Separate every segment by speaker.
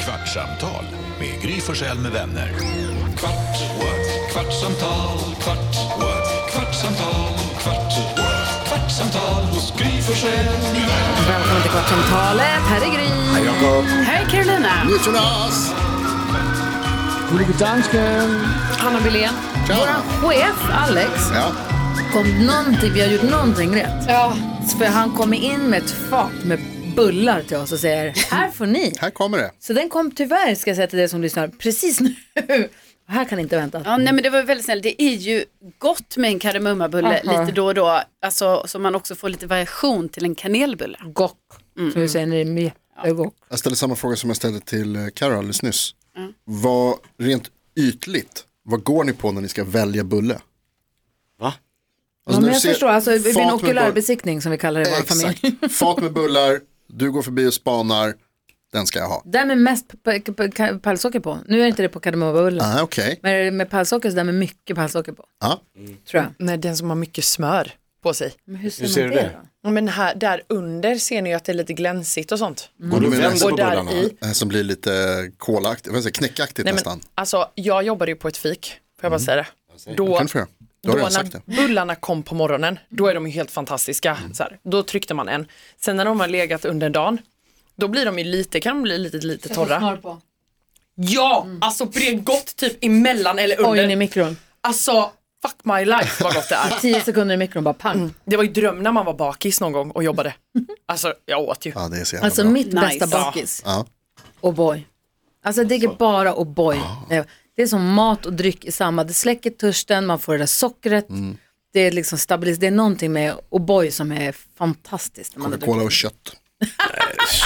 Speaker 1: Kvartsamtal med Gry Forssell med vänner. Kvart, what? kvartsamtal, kvart, what? kvartsamtal, kvart, what? kvartsamtal hos Gry Forssell med vänner.
Speaker 2: Välkommen till Kvartsamtalet. Här är Gry. Hej Jakob. Hej Carolina.
Speaker 3: Jonas!
Speaker 2: Hanna Billén.
Speaker 3: Tja.
Speaker 2: Vår chef Alex
Speaker 3: Ja,
Speaker 2: kom någonting, vi har gjort någonting rätt.
Speaker 4: Ja,
Speaker 2: För han kommer in med ett fat med bullar till oss och säger här får ni.
Speaker 3: här kommer det.
Speaker 2: Så den kom tyvärr, ska jag säga till dig som lyssnar, precis nu. Och här kan inte vänta.
Speaker 4: ja nej, men det var väldigt snällt. Det är ju gott med en kardemummabulle
Speaker 2: Aha.
Speaker 4: lite då och då. Alltså, så man också får lite variation till en kanelbulle.
Speaker 2: Gock, som vi säger när det är med. Ja. Gock.
Speaker 3: Jag ställer samma fråga som jag ställde till eh, Carro alldeles nyss.
Speaker 2: Mm.
Speaker 3: Vad, rent ytligt, vad går ni på när ni ska välja bulle? Alltså, Va?
Speaker 2: ja, men jag förstår, alltså, det blir en
Speaker 3: bull-
Speaker 2: okulärbesiktning som vi kallar det i vår familj.
Speaker 3: Exakt, fat med bullar, du går förbi och spanar, den ska jag ha.
Speaker 2: Den med mest p- p- p- pallsocker på. Nu är inte det på kardemummabullen.
Speaker 3: Ah, Okej, Ah.
Speaker 2: Men med pallsocker så där med mycket pallsocker på.
Speaker 3: Ja.
Speaker 2: Tror jag.
Speaker 5: Nej, den som har mycket smör på sig.
Speaker 2: Men hur ser,
Speaker 6: ser
Speaker 2: man
Speaker 6: du
Speaker 2: det,
Speaker 6: det?
Speaker 2: då?
Speaker 5: Ja, Men här, där under ser ni ju att det är lite glänsigt och sånt.
Speaker 3: och du
Speaker 6: Du
Speaker 3: menar
Speaker 6: vänder
Speaker 5: Och
Speaker 6: på
Speaker 5: där
Speaker 6: bullarna.
Speaker 5: i.
Speaker 3: eh, som blir lite kolaktigt, jag vill säga knäckaktigt
Speaker 5: Nej, men,
Speaker 3: nästan. Mm.
Speaker 5: alltså, jag jobbade ju på ett fik, får jag bara säga det. Då,
Speaker 3: Kan du få göra? Du
Speaker 5: då
Speaker 3: har redan sagt det. Mm.
Speaker 5: när bullarna kom på morgonen, då är de ju helt fantastiska. Så här, då tryckte man en. Sen när de har legat under dagen, då blir de ju lite, kan de bli lite, lite torra.
Speaker 2: på.
Speaker 5: Ja, alltså på det gott typ emellan eller under.
Speaker 2: Oj, in i mikron.
Speaker 5: Alltså, fuck my life vad gott det är.
Speaker 2: Tio sekunder i mikron, bara pang.
Speaker 5: Det var ju dröm när man var bakis någon gång och jobbade. Alltså, jag åt ju.
Speaker 3: Ja, det är så jävla
Speaker 2: Alltså
Speaker 3: bra.
Speaker 2: mitt
Speaker 4: Nice.
Speaker 2: bästa bakis.
Speaker 3: Ja.
Speaker 2: O'boy. Alltså jag digger bara O'boy. Det är som mat och dryck i samma. Det släcker törsten, man får det där sockret. Det är liksom stabilis. Det är någonting med O'boy som är fantastiskt. när man har druckit.
Speaker 3: Coca-Cola och kött.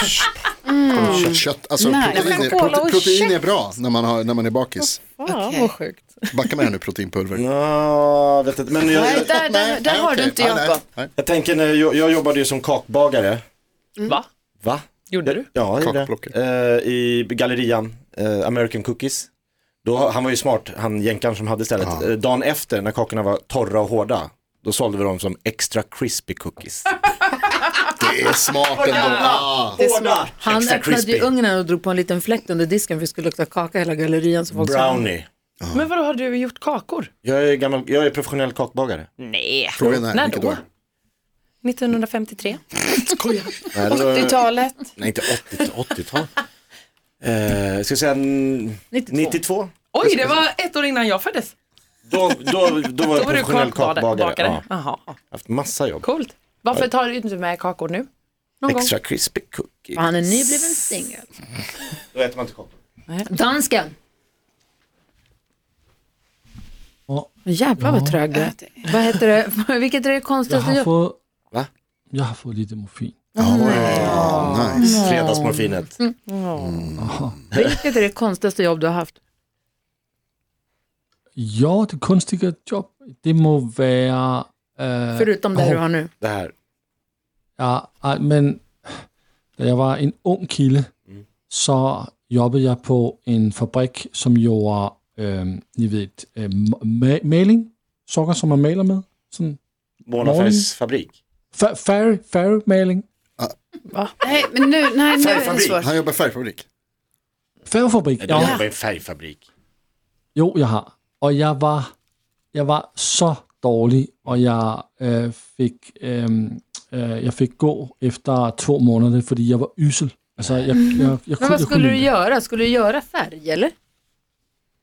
Speaker 3: Kött, kött. Alltså
Speaker 4: Mm. Nej,
Speaker 3: protein, är,
Speaker 2: Coca-Cola
Speaker 3: prote-
Speaker 2: och
Speaker 3: protein är
Speaker 2: kött.
Speaker 3: bra när man, har, när man är bakis.
Speaker 2: Fan vad sjukt.
Speaker 3: Backa med här nu proteinpulver.
Speaker 6: Ja, vet inte. Men jag,
Speaker 4: Nej,
Speaker 6: jag,
Speaker 4: Mm. där, där, där har du
Speaker 3: okej.
Speaker 4: inte
Speaker 3: Nej, nej,
Speaker 4: Jakob.
Speaker 3: nej.
Speaker 6: jag tänker, när jag, jag jobbade ju som kakbagare.
Speaker 5: Va?
Speaker 6: Va?
Speaker 5: Gjorde du?
Speaker 6: Ja, jag gjorde det.
Speaker 3: Kakplockare.
Speaker 6: Eh, I gallerian, eh, American Cookies. Då, han var ju smart, han jänkaren som hade stället. Eh, dagen efter när kakorna var torra och hårda, då sålde vi dem som extra crispy cookies.
Speaker 3: Det är smart ändå. Ah.
Speaker 5: Det är smart.
Speaker 2: Han
Speaker 6: Extra
Speaker 2: öppnade ju
Speaker 6: crispy.
Speaker 2: ugnen och drog på en liten fläkt under disken för det skulle lukta kaka i hela gallerian. Så folk sa-
Speaker 6: Brownie.
Speaker 5: Men vadå, har du gjort kakor?
Speaker 6: Jag är, gammal, jag är professionell kakbagare.
Speaker 5: Nej.
Speaker 3: Frågan är
Speaker 5: När
Speaker 3: vilket
Speaker 5: då?
Speaker 3: år?
Speaker 5: 1953.
Speaker 6: Nej, det var-
Speaker 4: 80-talet.
Speaker 6: Nej, inte 80 80-tal. Eh, ska jag säga mm,
Speaker 2: 92.
Speaker 6: 92?
Speaker 5: Oj, det var ett år innan jag föddes.
Speaker 6: Då, då, då var
Speaker 5: Då
Speaker 6: jag
Speaker 5: var du
Speaker 6: professionell
Speaker 5: kakbakare.
Speaker 6: kakbagare.
Speaker 5: Ja.
Speaker 6: Ja,
Speaker 5: Jaha,
Speaker 6: haft massa jobb.
Speaker 5: coolt. Varför tar du inte med kakor nu? Någon
Speaker 6: Extra crispy cookie.
Speaker 2: Och Han är nybliven singel.
Speaker 6: Då äter man inte kakor.
Speaker 2: Dansken.
Speaker 7: Ja,
Speaker 2: Jävlar vad trög du är. Vad heter det? Vilket är det
Speaker 7: jag
Speaker 2: konstigaste
Speaker 7: har
Speaker 2: jobb?
Speaker 7: fått...
Speaker 6: Va?
Speaker 7: Jag har fått lite morfin.
Speaker 4: Mm.
Speaker 3: Ah, nice.
Speaker 6: Fredagsmorfinet.
Speaker 2: Vilket är det konstigaste jobb du har haft?
Speaker 7: Ja, det konstiga jobb, det må vara... eh,
Speaker 2: Förutom det du har nu.
Speaker 6: Det här.
Speaker 7: ja, ah, men da jag var en ung kille så jobbade jag på en fabrik som gjorde, ehm, ni vet, äh, ma- maling. Socker som man maler med. Sådan
Speaker 6: Målarfärgsfabrik.
Speaker 7: fa- färg, färgmaling.
Speaker 4: Nej, men nu, nej, nu är det
Speaker 6: Färgfabrik.
Speaker 4: svårt.
Speaker 3: Han jobbar i färgfabrik.
Speaker 7: Färgfabrik.
Speaker 6: Nej, du
Speaker 7: Ja.
Speaker 6: jobbar i en färgfabrik.
Speaker 7: Jo, jag har. Och jag var, jag var så dårlig och jag, øh, fick, øhm, øh, jag fick gå efter två månader för jag var usel. Alltså, jag, jag, jag, jag
Speaker 2: Men
Speaker 7: kunde-
Speaker 2: vad
Speaker 7: jag
Speaker 2: skulle
Speaker 7: kunde
Speaker 2: du
Speaker 7: inte.
Speaker 2: göra? Skulle du göra färg eller?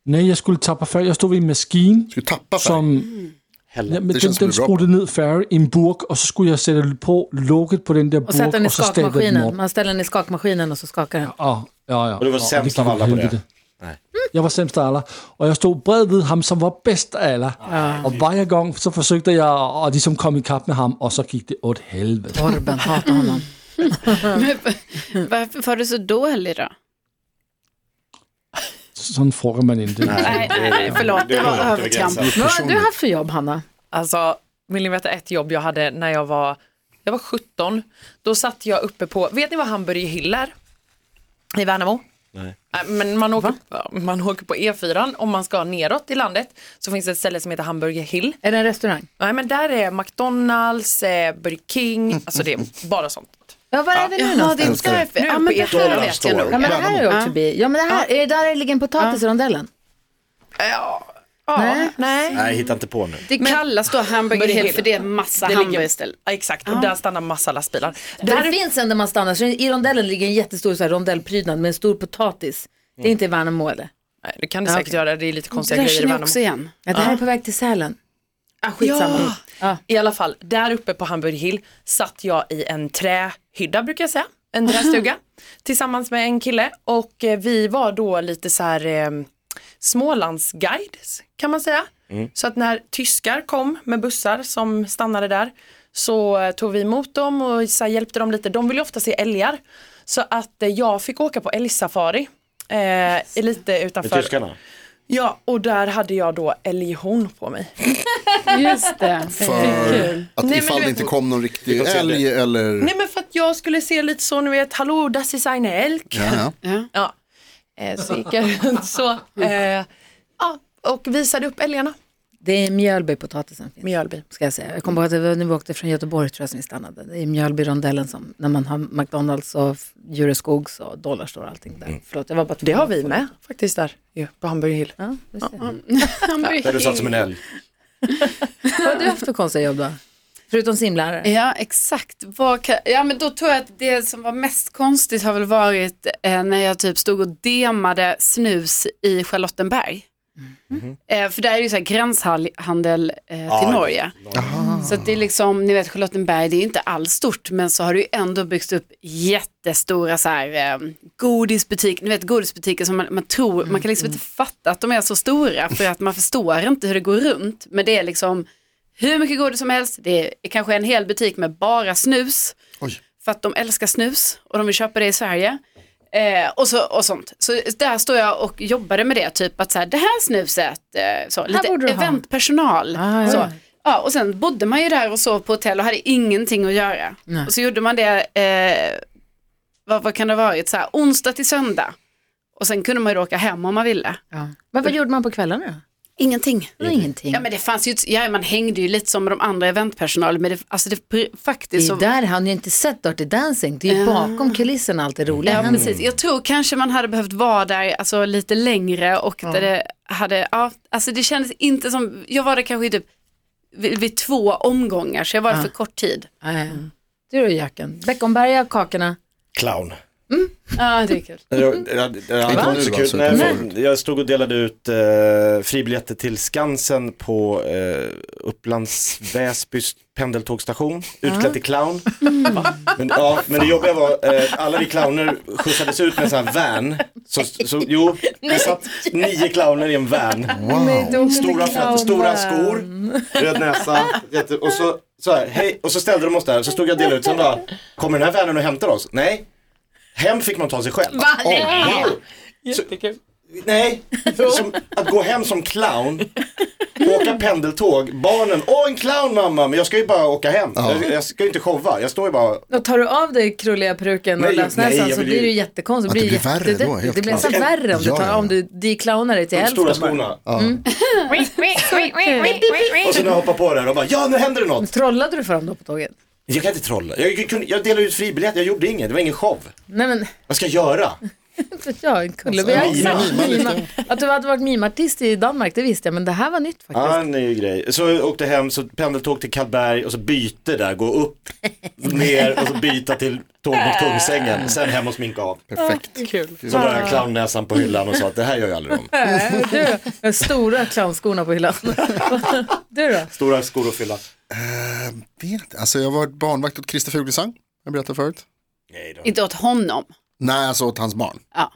Speaker 7: Nej, jag skulle tappa färg. Jag stod vid en maskin
Speaker 3: Ska du tappa färg?
Speaker 7: som... Ja,
Speaker 6: Hellre.
Speaker 7: men
Speaker 3: Hmm. Det
Speaker 7: den
Speaker 3: känns som
Speaker 7: den
Speaker 3: du är bra på.
Speaker 7: sprutade ner färg i en burk och så skulle jag sätta på locket på den där
Speaker 2: Och sätta
Speaker 7: burken
Speaker 2: den i
Speaker 7: och så ställde jag den
Speaker 2: skakmaskinen.
Speaker 7: upp.
Speaker 2: Man ställer den i skakmaskinen och så skakar den.
Speaker 7: Ja, ja, ja.
Speaker 6: Och du var
Speaker 7: Ja,
Speaker 6: sämst
Speaker 7: gick
Speaker 6: av alla på det.
Speaker 7: helvete.
Speaker 6: Nej.
Speaker 7: Jag var sämst av alla. Och jag stod bredvid han som var bäst av alla. Och varje gång så försökte jag att liksom komma ikapp med honom och så gick det åt helvete.
Speaker 2: Torben hatar honom.
Speaker 4: Men Varför var du så dålig då?
Speaker 7: Sån frågar man inte.
Speaker 4: Nej, nej, nej, förlåt. Det var övertramp.
Speaker 2: Vad har du haft för jobb Hanna?
Speaker 5: Alltså, vill ni veta ett jobb jag hade när jag var, jag var 17? Då satt jag uppe på, vet ni vad Hamburger Hill är? I Värnamo?
Speaker 6: Nej.
Speaker 5: Äh, Men man åker, ja, man åker på E4, om man ska neråt i landet så finns det ett ställe som heter Hamburger Hill.
Speaker 2: Är det en restaurang?
Speaker 4: Mm.
Speaker 5: Nej men där är McDonalds, eh, Burger King, alltså det är bara sånt.
Speaker 2: Ja, var är vi nu
Speaker 4: Jaha, det
Speaker 2: någonstans?
Speaker 4: är
Speaker 3: Älskar det.
Speaker 4: därför.
Speaker 5: Nu är
Speaker 4: Ja,
Speaker 5: vi
Speaker 4: men
Speaker 5: på
Speaker 4: det
Speaker 5: ett
Speaker 4: här
Speaker 6: dollar
Speaker 4: vet jag
Speaker 6: står
Speaker 4: nog.
Speaker 2: Ja, men det här är jag också bi. Ja, men det här, är det där det ligger en potatis i rondellen? Nej.
Speaker 5: Nej.
Speaker 6: Nej, hitta inte på nu.
Speaker 4: Det kallas då hamburger
Speaker 5: Burger
Speaker 4: hill
Speaker 5: Hill.
Speaker 4: för det är massa
Speaker 5: Det ligger,
Speaker 4: hamburgerställ.
Speaker 5: ja, exakt, och där stannar massa lastbilar.
Speaker 2: Där
Speaker 5: Där
Speaker 2: det
Speaker 5: är,
Speaker 2: finns en där man stannar, så i rondellen ligger en jättestor så här, rondellprydnad med en stor potatis. Det
Speaker 7: Mm.
Speaker 2: är inte i Värnamo eller?
Speaker 5: nej, det kan det säkert göra, det är lite
Speaker 4: Det
Speaker 5: konstiga
Speaker 4: där
Speaker 5: grejer i
Speaker 4: känner jag
Speaker 5: Värnamo.
Speaker 4: också igen.
Speaker 2: Ja, det här är på väg till Sälen. Ah, skitsamma.
Speaker 5: Ja.
Speaker 2: Ja.
Speaker 5: I alla fall, där uppe på Hamburg Hill satt jag i en trähydda brukar jag säga, en trästuga tillsammans med en kille och eh, vi var då lite så här eh, Smålandsguides kan man säga.
Speaker 6: Mm.
Speaker 5: Så att när tyskar kom med bussar som stannade där så eh, tog vi emot dem och så här, hjälpte dem lite. De ville ofta se älgar så att eh, jag fick åka på älgsafari eh, lite
Speaker 6: Med
Speaker 5: utanför.
Speaker 6: tyskarna.
Speaker 5: Ja, och där hade jag då älghorn på mig.
Speaker 4: Just det.
Speaker 3: För att
Speaker 5: men
Speaker 3: ifall det
Speaker 5: du vet-
Speaker 3: inte kom någon riktig
Speaker 6: kan se
Speaker 3: älg
Speaker 6: det.
Speaker 3: eller...
Speaker 5: Nej men för att jag skulle se lite så, ni vet, hallå, das ist eine Elk.
Speaker 3: Ja, ja.
Speaker 5: Ja. Eh, Så gick jag runt så. Eh, ja, och visade upp älgarna.
Speaker 2: Det är Mjölbypotatisen finns.
Speaker 5: Mjölby.
Speaker 2: Ska jag säga. Jag kommer ihåg att det var när vi åkte från Göteborg tror jag som vi stannade. Det är Mjölbyrondellen som, när man har McDonalds och Djureskogs och Dollarstore och allting där. Förlåt, jag var bara
Speaker 5: Det har vi med faktiskt där ju, på Hamburg Hill.
Speaker 2: Ja, just det.
Speaker 6: Där du satt som en älg.
Speaker 2: Vad har du haft för konstiga jobb då? Förutom simlärare?
Speaker 4: Ja, exakt. Vad kan... Ja, men då tror jag att det som var mest konstigt har väl varit eh, när jag typ stod och demade snus i Charlottenberg. Eh, för där är det ju så här gränshandel eh, till
Speaker 6: Ja,
Speaker 4: Norge. Så att det är liksom, ni vet Charlottenberg, det är inte alls stort, men så har det ju ändå byggts upp jättestora så här, eh, godisbutiker, ni vet godisbutiker som man, man tror, man kan liksom inte fatta att de är så stora för att man förstår inte hur det går runt. Men det är liksom hur mycket godis som helst, det är kanske en hel butik med bara snus
Speaker 3: Oj.
Speaker 4: för att de älskar snus och de vill köpa det i Sverige. Eh, och, så, och sånt. Så där står jag och jobbade med det, typ att så här, det här snuset, eh, så, lite
Speaker 2: borde du ha.
Speaker 4: eventpersonal.
Speaker 2: Ah, ja.
Speaker 4: så. Ja, och sen bodde man ju där och sov på hotell och hade ingenting att göra.
Speaker 2: Nej.
Speaker 4: Och så gjorde man det, eh, vad, vad kan det ha varit, så här, onsdag till söndag. Och sen kunde man ju då åka hem om man ville.
Speaker 2: Ja. Vad, vad gjorde man på kvällarna då?
Speaker 4: Ingenting.
Speaker 2: Det var Ingenting.
Speaker 4: Ja men det fanns ju, ett- ja, man hängde ju lite som med de andra eventpersonalen men det, alltså det pr-
Speaker 2: det är
Speaker 4: faktiskt
Speaker 2: ju
Speaker 4: så.
Speaker 2: där, han har ju inte sett Dirty Dancing. Det är ju bakom kulisserna allt det roliga
Speaker 4: Ja,
Speaker 2: händer.
Speaker 4: precis. Jag tror kanske man hade behövt vara där alltså, lite längre och där det hade, ja, alltså det kändes inte som, jag var där kanske i typ vid, vid två omgångar så jag var där för kort tid.
Speaker 2: Nej. Du då Jacken, Beckomberga, kakorna.
Speaker 6: Clown.
Speaker 4: Ja, det är
Speaker 5: Mm.
Speaker 4: kul.
Speaker 6: Jag, jag, jag,
Speaker 3: Inte
Speaker 6: jag,
Speaker 3: nu,
Speaker 6: så
Speaker 3: va,
Speaker 6: kul.
Speaker 3: så
Speaker 6: Nej,
Speaker 3: utan
Speaker 6: jag-
Speaker 3: förut.
Speaker 6: jag stod och delade ut eh, fribiljetter till Skansen på eh, Upplands Väsbys pendeltågstation, utklädd till clown. Men, ja, men det jobbiga var, eh, alla vi clowner skjutsades ut med en sån här van. Så, så, jo, det satt nio clowner i en van.
Speaker 3: Wow.
Speaker 6: Stora fötter, stora skor, röd näsa. Jätte, och, så, så här, hej, och så ställde de oss där, så stod jag och delade ut, sen bara, kommer den här vanen och hämtar oss? Nej. Hem fick man ta sig själv.
Speaker 3: Oj, wow.
Speaker 5: Jättekul.
Speaker 6: Nej, som, att gå hem som clown, åka pendeltåg, barnen, åh en clown mamma, men jag ska ju bara åka hem. Jag, jag ska ju inte showa, jag står ju bara,
Speaker 2: Och tar du av dig krulliga peruken och
Speaker 6: Nej, nej,
Speaker 2: lösnäsan
Speaker 6: jag
Speaker 2: så
Speaker 6: vill
Speaker 2: blir
Speaker 6: ju-
Speaker 2: det ju jättekonstigt.
Speaker 3: Att det blir värre
Speaker 2: det,
Speaker 3: då,
Speaker 2: det,
Speaker 3: helt
Speaker 2: det blir nästan
Speaker 6: klart.
Speaker 2: värre om du
Speaker 3: Ja,
Speaker 2: tar
Speaker 3: ja.
Speaker 2: om du declownar dig till
Speaker 6: de stora
Speaker 2: hälften. bara.
Speaker 6: skorna. Och sen när jag hoppar på det här, de bara, ja nu händer det något.
Speaker 2: Trollade du för dem då på tåget?
Speaker 6: Jag kan inte trolla, jag, kunde- jag delade ut fribiljett, jag gjorde inget, det var ingen show.
Speaker 2: Nej men,
Speaker 6: Vad ska jag göra?
Speaker 2: ja, en kulle. Vi har
Speaker 3: mima,
Speaker 2: också-
Speaker 3: Alltså, mima lite.
Speaker 2: mima. Att du hade varit mimartist i Danmark, det visste jag, men det här var nytt faktiskt.
Speaker 6: Ja, en ny grej. Så jag åkte hem, så pendeltåg till Karlberg och så byte där, gå upp, ner och så byta till tåg mot Kungsängen, sen hem och sminka av.
Speaker 3: Perfekt.
Speaker 6: Så la jag clownnäsan på hyllan och sa att det här gör jag aldrig om.
Speaker 2: Nej, Du, med stora clownskorna på hyllan. Du då?
Speaker 6: Stora skor och fylla.
Speaker 3: Vet, alltså jag var barnvakt åt Christer Fuglesang, jag berättade förut.
Speaker 6: Nej då.
Speaker 4: Inte åt honom.
Speaker 3: Nej, alltså åt hans barn.
Speaker 4: Ja.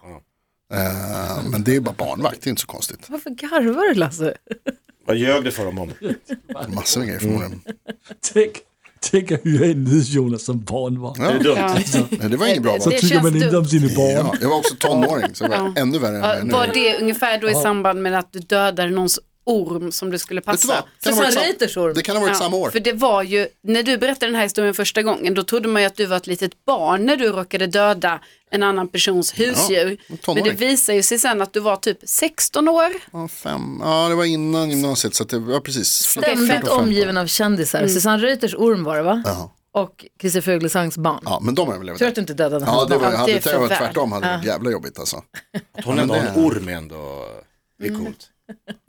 Speaker 3: Eh, men det är ju bara barnvakt, det är inte så konstigt.
Speaker 2: Varför garvar du Lasse?
Speaker 6: Vad ljög du för dem om?
Speaker 3: Massor med grejer
Speaker 6: Mm.
Speaker 3: förmodligen.
Speaker 7: Tænk, tænk at hyre en Jonas som barnvakt.
Speaker 6: Det är dumt.
Speaker 4: Ja.
Speaker 3: Nej, det var inget bra
Speaker 4: Det-
Speaker 7: Så
Speaker 3: val.
Speaker 4: det-
Speaker 7: tycker man
Speaker 4: känns
Speaker 7: inte om sine borgere.
Speaker 3: Ja, jag var också tonåring, så det var ännu värre
Speaker 4: Ja,
Speaker 3: än vad
Speaker 4: Var
Speaker 3: jag är nu.
Speaker 4: det ungefär då i samband med att du dödade någons orm som du skulle
Speaker 3: Vet du vad?
Speaker 4: passa?
Speaker 3: Kan ha varit
Speaker 2: Susanne
Speaker 3: sam-
Speaker 2: Reuters orm.
Speaker 3: Det kan ha varit
Speaker 4: Ja,
Speaker 3: samma år.
Speaker 4: För det var ju, när du berättade den här historien första gången, då trodde man ju att du var ett litet barn när du råkade döda en annan persons husdjur.
Speaker 3: en
Speaker 4: Men
Speaker 3: tonåring.
Speaker 4: det visar ju sig sen att du var typ 16 år.
Speaker 3: Ja, fem. ja, det var innan gymnasiet, så att det var precis.
Speaker 2: Mm. Ständigt omgiven av kändisar. Susanne Reuters orm var det va?
Speaker 3: Ja.
Speaker 2: och Christer Fuglsangs barn.
Speaker 3: Ja, men de har överlevt.
Speaker 2: Tur att du inte dödade
Speaker 3: Ja,
Speaker 2: hans
Speaker 3: det var,
Speaker 2: barn.
Speaker 4: Ja,
Speaker 3: hade
Speaker 4: det är
Speaker 3: det varit
Speaker 4: förvärv.
Speaker 3: tvärtom hade det varit jävla jobbigt alltså.
Speaker 6: Att hon ändå har en orm är Mm. ändå, det är coolt.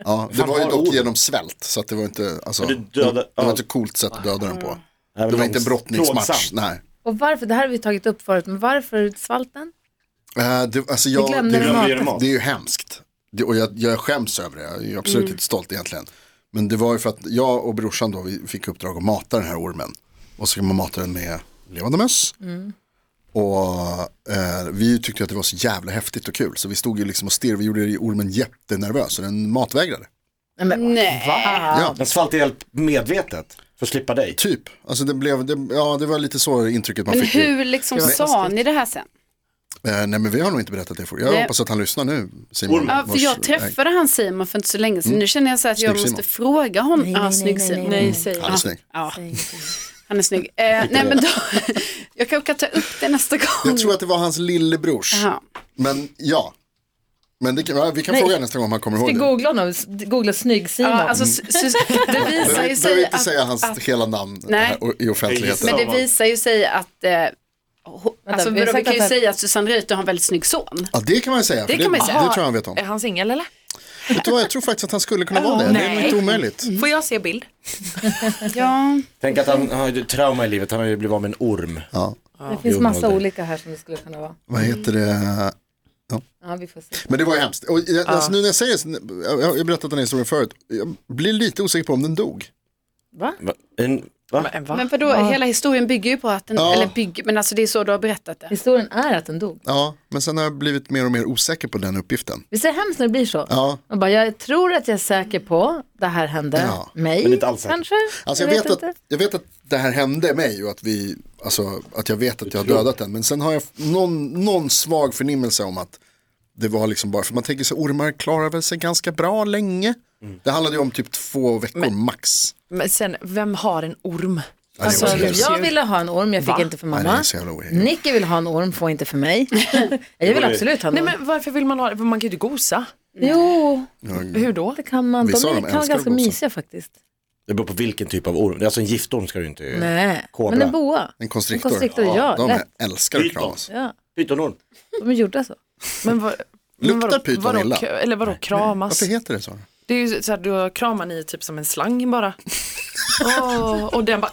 Speaker 3: Ja, det
Speaker 6: Fan,
Speaker 3: var ju
Speaker 6: har
Speaker 3: dock
Speaker 6: ord.
Speaker 3: genom svält, så att det var inte, alltså,
Speaker 6: Men du
Speaker 3: det,
Speaker 6: dödade-
Speaker 3: det var
Speaker 6: ja.
Speaker 3: inte coolt sätt att döda den på.
Speaker 6: Nej, men
Speaker 3: Det var inte en
Speaker 6: långs-
Speaker 3: brottningsmatch,
Speaker 6: plågsamt.
Speaker 3: nej.
Speaker 2: Och varför, det här har vi tagit upp förut, men varför svalten?
Speaker 3: Eh, det, alltså jag,
Speaker 2: Vi glömde
Speaker 3: det,
Speaker 2: den
Speaker 6: glömde ju den
Speaker 3: det,
Speaker 6: mat.
Speaker 3: är ju hemskt. Det, och jag, jag skäms över det, jag är absolut
Speaker 4: Mm.
Speaker 3: inte stolt egentligen. Men det var ju för att jag och brorsan då, vi fick uppdrag att mata den här ormen. Och så kan man mata den med levande möss.
Speaker 4: Mm.
Speaker 3: Och eh, vi tyckte att det var så jävla häftigt och kul. Så vi stod ju liksom och stirrade, vi gjorde ormen jättenervös så den matvägrade.
Speaker 2: Nej, men,
Speaker 4: Nej.
Speaker 3: Ja,
Speaker 6: Den svalt ihjäl medvetet för att slippa dig.
Speaker 3: typ. Alltså det blev, det, ja det var lite så intrycket man
Speaker 4: Men
Speaker 3: fick. ju.
Speaker 4: hur liksom
Speaker 2: Men-
Speaker 4: sa ni det här sen?
Speaker 3: Eh, nej men vi har nog inte berättat det för. Jag
Speaker 4: Nej.
Speaker 3: hoppas att han lyssnar nu. Simon,
Speaker 6: Ormen.
Speaker 4: Ja, för
Speaker 3: vars-
Speaker 4: jag träffade han Simon för inte så länge sedan. Nu känner jag så här att jag
Speaker 3: Mm. Snygg
Speaker 4: måste
Speaker 3: Simon.
Speaker 4: fråga honom.
Speaker 2: Nej,
Speaker 4: Ja,
Speaker 2: nej,
Speaker 4: snygg
Speaker 2: nej,
Speaker 4: Simon.
Speaker 2: nej, nej.
Speaker 4: Simon.
Speaker 3: Han är snygg.
Speaker 4: Ja, han är snygg. Eh, nej, men då, jag kanske kan ta upp det nästa gång.
Speaker 3: Jag tror att det var hans lillebrors.
Speaker 4: Jaha.
Speaker 3: Men ja. Men det kan, ja, vi kan
Speaker 2: Nej.
Speaker 3: fråga nästa gång om han kommer
Speaker 2: ska
Speaker 3: ihåg det.
Speaker 2: googla honom, S- googla snygg-Simon.
Speaker 4: Ja, alltså, sy- sy- det visar ju
Speaker 3: Behöver behöver
Speaker 4: sig
Speaker 3: inte
Speaker 4: att,
Speaker 3: säga hans hela namn
Speaker 4: Nej.
Speaker 3: här och- i offentligheten.
Speaker 4: men det
Speaker 6: samma.
Speaker 4: visar ju sig att eh, ho- Alltså,
Speaker 2: vi har
Speaker 4: vi,
Speaker 2: sagt
Speaker 4: kan
Speaker 2: att
Speaker 4: ju
Speaker 2: det-
Speaker 4: säga att Susanne Reuter har en väldigt snygg son.
Speaker 3: Ja, det kan man ju säga. för
Speaker 4: Det kan man ju säga.
Speaker 3: det tror jag han vet om.
Speaker 5: Är han singel eller?
Speaker 3: Vet du vad, jag tror faktiskt att han skulle kunna vara det. Det är nog inte omöjligt.
Speaker 4: Mm.
Speaker 5: Får jag se bild?
Speaker 4: Ja,
Speaker 6: Tänk att han har ju trauma i livet, han har ju blivit av med en orm.
Speaker 3: Ja.
Speaker 2: det finns
Speaker 6: jo,
Speaker 2: massa
Speaker 6: Molde.
Speaker 2: olika här som det skulle kunna vara.
Speaker 3: Vad heter det?
Speaker 2: Ja, vi får se.
Speaker 3: Men det var ju hemskt. Och jag, alltså, nu när jag säger så- jag jag har berättat den här historien förut. Jag blir lite osäker på om den dog.
Speaker 6: Va? En, va?
Speaker 5: Men va?
Speaker 4: men vadå, hela historien bygger ju på att den,
Speaker 3: Ja.
Speaker 4: eller bygger, men alltså det är så du har berättat det.
Speaker 2: Historien är att den dog.
Speaker 3: Ja, men sen har jag blivit mer och mer osäker på den uppgiften.
Speaker 2: Visst är det hemskt när det blir så?
Speaker 3: Ja.
Speaker 2: Man bara, jag tror att jag är säker på det här hände
Speaker 3: Ja,
Speaker 2: mig,
Speaker 6: men inte alls säker.
Speaker 2: kanske?
Speaker 3: Alltså jag, vet att, jag vet att det här hände mig och att, vi, alltså, att jag vet att jag har dödat den. Men sen har jag f- någon, någon svag förnimmelse om att det var liksom bara, för man tänker sig ormar klarar väl sig ganska bra länge.
Speaker 6: Mm.
Speaker 3: Det handlade ju om typ två veckor max.
Speaker 5: Men sen, vem har en orm?
Speaker 3: det
Speaker 2: Alltså,
Speaker 3: var så jävla-
Speaker 2: jag ville ha en orm, jag fick
Speaker 5: Va?
Speaker 2: inte för
Speaker 3: Nej, det är
Speaker 2: mamma.
Speaker 3: så jävla ohederligt.
Speaker 2: Nicky vill ha en orm, får inte för mig. jag vill
Speaker 6: Oj.
Speaker 2: absolut ha en
Speaker 5: Nej
Speaker 2: orm.
Speaker 5: men varför vill man ha det? Man kan ju inte gosa.
Speaker 2: Jo,
Speaker 3: Mm.
Speaker 5: Hur då?
Speaker 2: det kan man. De
Speaker 3: Vissa av
Speaker 2: är,
Speaker 3: dem
Speaker 2: kan vara
Speaker 3: älskar
Speaker 2: ganska
Speaker 3: att gosa.
Speaker 2: mysiga faktiskt.
Speaker 6: Det beror på vilken typ av orm. Det är Alltså en giftorm ska du inte...
Speaker 2: Nej,
Speaker 6: Kobra.
Speaker 2: men en boa.
Speaker 3: En konstriktor.
Speaker 2: En konstriktor, ja,
Speaker 3: de
Speaker 2: lätt.
Speaker 3: älskar att
Speaker 6: Python.
Speaker 3: kramas.
Speaker 2: Ja,
Speaker 6: Pytonorm.
Speaker 2: de är gjorda så.
Speaker 5: Men vad, men
Speaker 3: Luktar pyton
Speaker 5: vadå,
Speaker 3: illa?
Speaker 5: k- Eller vadå kramas?
Speaker 3: Varför heter det så?
Speaker 5: Det är ju så här, då kramar ni typ som en slang bara. Åh, och den bara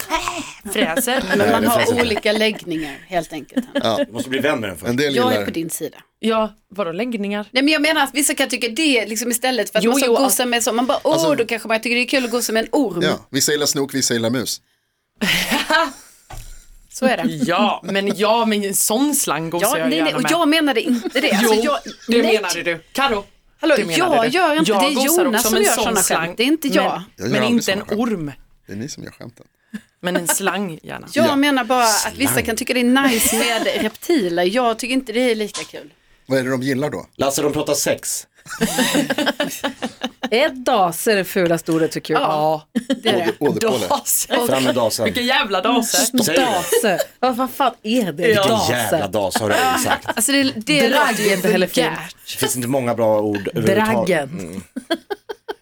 Speaker 4: Äh,
Speaker 5: fräser.
Speaker 4: Man
Speaker 3: det finns
Speaker 4: har
Speaker 3: inte.
Speaker 4: olika läggningar helt enkelt.
Speaker 6: Du måste bli vän med den först.
Speaker 3: En del
Speaker 4: Jag är på
Speaker 3: gillar
Speaker 4: din sida.
Speaker 5: Ja, vadå läggningar?
Speaker 4: Nej men jag menar att vissa kan tycka det liksom istället för att
Speaker 5: Jo,
Speaker 4: man ska
Speaker 5: jo,
Speaker 4: gosa med så, man bara åh
Speaker 3: Alltså-
Speaker 4: då kanske man tycker det är kul att gosa med en orm.
Speaker 3: Ja, vissa gillar snok, vissa gillar mus.
Speaker 4: Så är det.
Speaker 5: Ja, men ja, men en sån slang gosar
Speaker 4: Ja, nej,
Speaker 5: jag
Speaker 4: nej,
Speaker 5: gärna
Speaker 4: och
Speaker 5: med.
Speaker 4: jag menade inte det. Alltså,
Speaker 5: Jo,
Speaker 4: jag,
Speaker 5: det
Speaker 4: nej.
Speaker 5: menade du. Karo,
Speaker 4: Hallå,
Speaker 5: det menade
Speaker 4: jag
Speaker 5: du.
Speaker 4: gör inte
Speaker 5: Jag
Speaker 4: det. Det är
Speaker 5: gosar
Speaker 4: Jonas
Speaker 5: också
Speaker 4: som
Speaker 5: med
Speaker 4: gör
Speaker 5: en sån
Speaker 4: sådana
Speaker 5: slang.
Speaker 4: skämt. Det är inte jag.
Speaker 3: Jag
Speaker 5: Men,
Speaker 3: gör
Speaker 5: men
Speaker 3: aldrig
Speaker 5: inte en
Speaker 3: såna skämt.
Speaker 5: orm,
Speaker 3: Det är ni som gör skämten.
Speaker 5: men en slang gärna.
Speaker 4: Jag menar bara att vissa kan tycka det är nice med reptiler. Jag tycker inte det är lika kul.
Speaker 3: Vad är det de gillar då?
Speaker 6: Lasse, de pratar sex.
Speaker 2: Är daser det fulaste ordet tycker jag?
Speaker 5: Ja,
Speaker 4: Det är det.
Speaker 3: Åderpåle.
Speaker 5: daser.
Speaker 6: Fram med dasen.
Speaker 5: Vilka jävla
Speaker 4: Mm.
Speaker 5: daser.
Speaker 6: Säger du?
Speaker 2: Dase, vad fan, fan är det?
Speaker 5: Vilken
Speaker 6: Vilken
Speaker 2: Dase.
Speaker 6: jävla das har du sagt.
Speaker 4: Alltså det, det
Speaker 2: Dragg
Speaker 4: låter ju
Speaker 2: är inte heller fint.
Speaker 4: vulgärt.
Speaker 6: Det finns inte många bra ord överhuvudtaget. Mm.
Speaker 2: Dragen.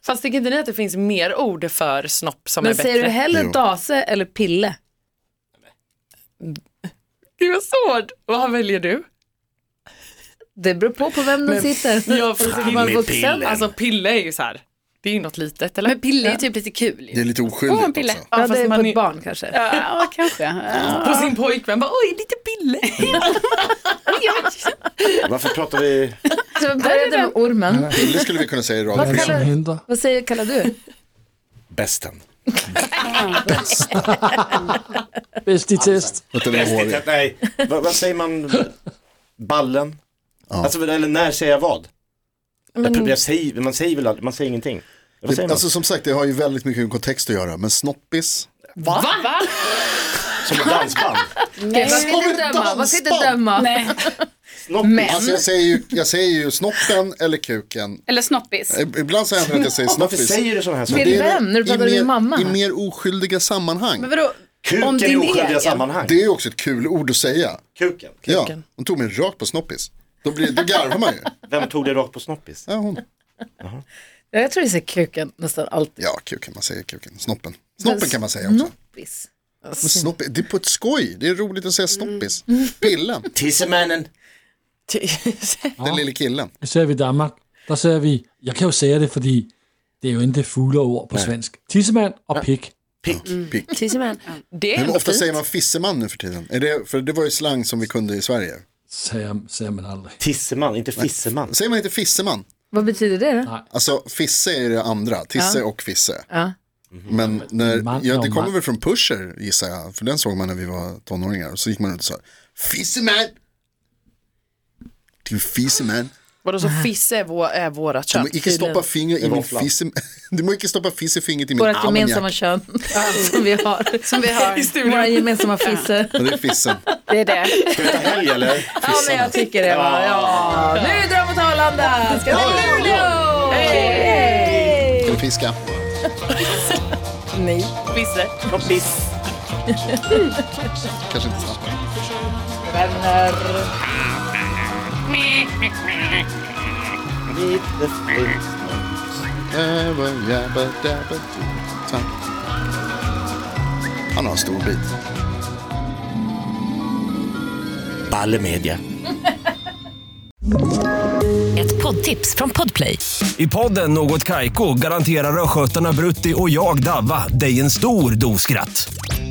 Speaker 5: Fast tycker inte ni att det finns mer ord för snopp som
Speaker 2: Men
Speaker 5: är
Speaker 2: säger
Speaker 5: bättre?
Speaker 2: du hellre
Speaker 3: Jo.
Speaker 2: dase eller pille?
Speaker 5: Gud vad svårt. Vad väljer du?
Speaker 2: Det beror på på vem de sitter.
Speaker 5: Jag
Speaker 6: fan, med pillen.
Speaker 5: Alltså pille är ju så här. Det är ju något litet eller?
Speaker 4: Men Pille är typ lite kul.
Speaker 3: Det är
Speaker 4: ju.
Speaker 3: lite
Speaker 4: Åh, en
Speaker 3: oskyldigt alltså.
Speaker 4: pille.
Speaker 3: också.
Speaker 2: Ja,
Speaker 5: fast
Speaker 2: det är
Speaker 5: man
Speaker 2: på
Speaker 5: är-
Speaker 2: ett barn kanske.
Speaker 4: Ja, kanske. Ja.
Speaker 5: på sin pojkvän bara oj lite pille.
Speaker 6: Varför pratar vi...
Speaker 2: Så vi började med ormen.
Speaker 3: Pille skulle vi kunna säga i radio.
Speaker 7: Det som
Speaker 2: kallar-
Speaker 7: händer.
Speaker 2: Vad säger, kallar du?
Speaker 6: Bästen.
Speaker 7: Bäst i test.
Speaker 3: Att den är
Speaker 6: Bäst i
Speaker 3: hårig.
Speaker 6: tät- nej. Va, vad säger man? Ballen? Alltså, eller när säger jag vad? Jag, jag säger, man säger väl aldrig, man säger ingenting. Vad säger man?
Speaker 3: Alltså som sagt, det har ju väldigt mycket med kontext att göra. Men snoppis,
Speaker 5: Va? Va?
Speaker 6: Som ett dansband.
Speaker 2: Man ska
Speaker 3: Som ett
Speaker 2: inte döma. Man ska inte
Speaker 3: dansband.
Speaker 2: döma.
Speaker 4: Nej.
Speaker 6: Snoppis.
Speaker 2: Men-
Speaker 3: alltså jag säger ju, jag säger ju snoppen eller kuken.
Speaker 4: Eller snoppis.
Speaker 3: I- Ibland så händer det att jag säger
Speaker 6: Varför
Speaker 3: snoppis.
Speaker 6: säger du sådana här
Speaker 3: Men
Speaker 6: saker?
Speaker 2: Till
Speaker 3: det är
Speaker 2: vem? När du
Speaker 3: i
Speaker 2: pratar med
Speaker 3: mer-
Speaker 2: mamma?
Speaker 3: I mer oskyldiga sammanhang.
Speaker 4: Men vadå? Om
Speaker 6: Kuken i
Speaker 4: din
Speaker 6: oskyldiga
Speaker 4: egen.
Speaker 6: sammanhang.
Speaker 3: Det är ju också ett kul ord att säga.
Speaker 6: Kuken.
Speaker 3: Ja,
Speaker 5: Kuken.
Speaker 3: hon tog mig rakt på snoppis. Då, blir, då garvar man ju.
Speaker 6: Vem tog det rakt på snoppis?
Speaker 3: Ja, hon.
Speaker 2: Ja, Jag tror vi säger kuken nästan alltid.
Speaker 3: ja, kuken, man säger kuken. Snoppen. Snoppen kan man säga också.
Speaker 2: Snoppis.
Speaker 3: Men snopp, det är på ett skoj, det är roligt att säga snoppis. Pillen,
Speaker 6: Tissemannen.
Speaker 3: den lille killen.
Speaker 7: Især vi i Danmark, der ser vi, jeg kan jo sige det, fordi det er jo ikke fugle ord på svensk. Tissemand og pik.
Speaker 3: Mm.
Speaker 8: Tisseman.
Speaker 5: Det är
Speaker 3: Hur
Speaker 5: ändå
Speaker 3: ofta
Speaker 5: fint.
Speaker 3: säger man fisseman nu för tiden? Är det, för det var ju slang som vi kunde i Sverige.
Speaker 7: Sagde, sagde man aldrig.
Speaker 6: Tisseman, inte fisseman.
Speaker 3: Säger man inte fisseman?
Speaker 2: Vad betyder det då?
Speaker 3: Alltså fisse är det andra, tisse och fisse.
Speaker 2: Ja.
Speaker 3: Men när,
Speaker 7: Man-
Speaker 3: ja, det
Speaker 7: ja,
Speaker 3: kommer
Speaker 7: man-
Speaker 3: väl från Pusher gissar jag, för den såg man när vi var tonåringar. Och så gick man runt och sa, fisseman! Din fisseman.
Speaker 5: Vadå, så fiss är, vår, är vårat
Speaker 3: Du
Speaker 5: kön?
Speaker 3: må icke stoppa finger i min
Speaker 6: våfflan.
Speaker 3: fisse. Du må icke stoppa fiss i fingret i min
Speaker 2: Vårt gemensamma
Speaker 3: ammoniak.
Speaker 2: kön som vi har. Som vi har. Våra gemensamma fisse.
Speaker 3: Ja, Det är fissen.
Speaker 4: Det är det.
Speaker 6: Ska vi ta helg eller?
Speaker 2: Ja, men jag tycker det. Va? Ja. Nu drar vi åt Arlanda! Ska till Luleå!
Speaker 3: Kan du fiska?
Speaker 2: Nej.
Speaker 5: Fisse.
Speaker 3: Kanske inte snabbt. Dabba, jabba, dabba, do. Tack. Han har en stor bit.
Speaker 6: Balle media.
Speaker 8: Ett poddtips från Podplay.
Speaker 9: I podden Något Kaiko garanterar östgötarna Brutti och jag, Davva, dig en stor dos skratt.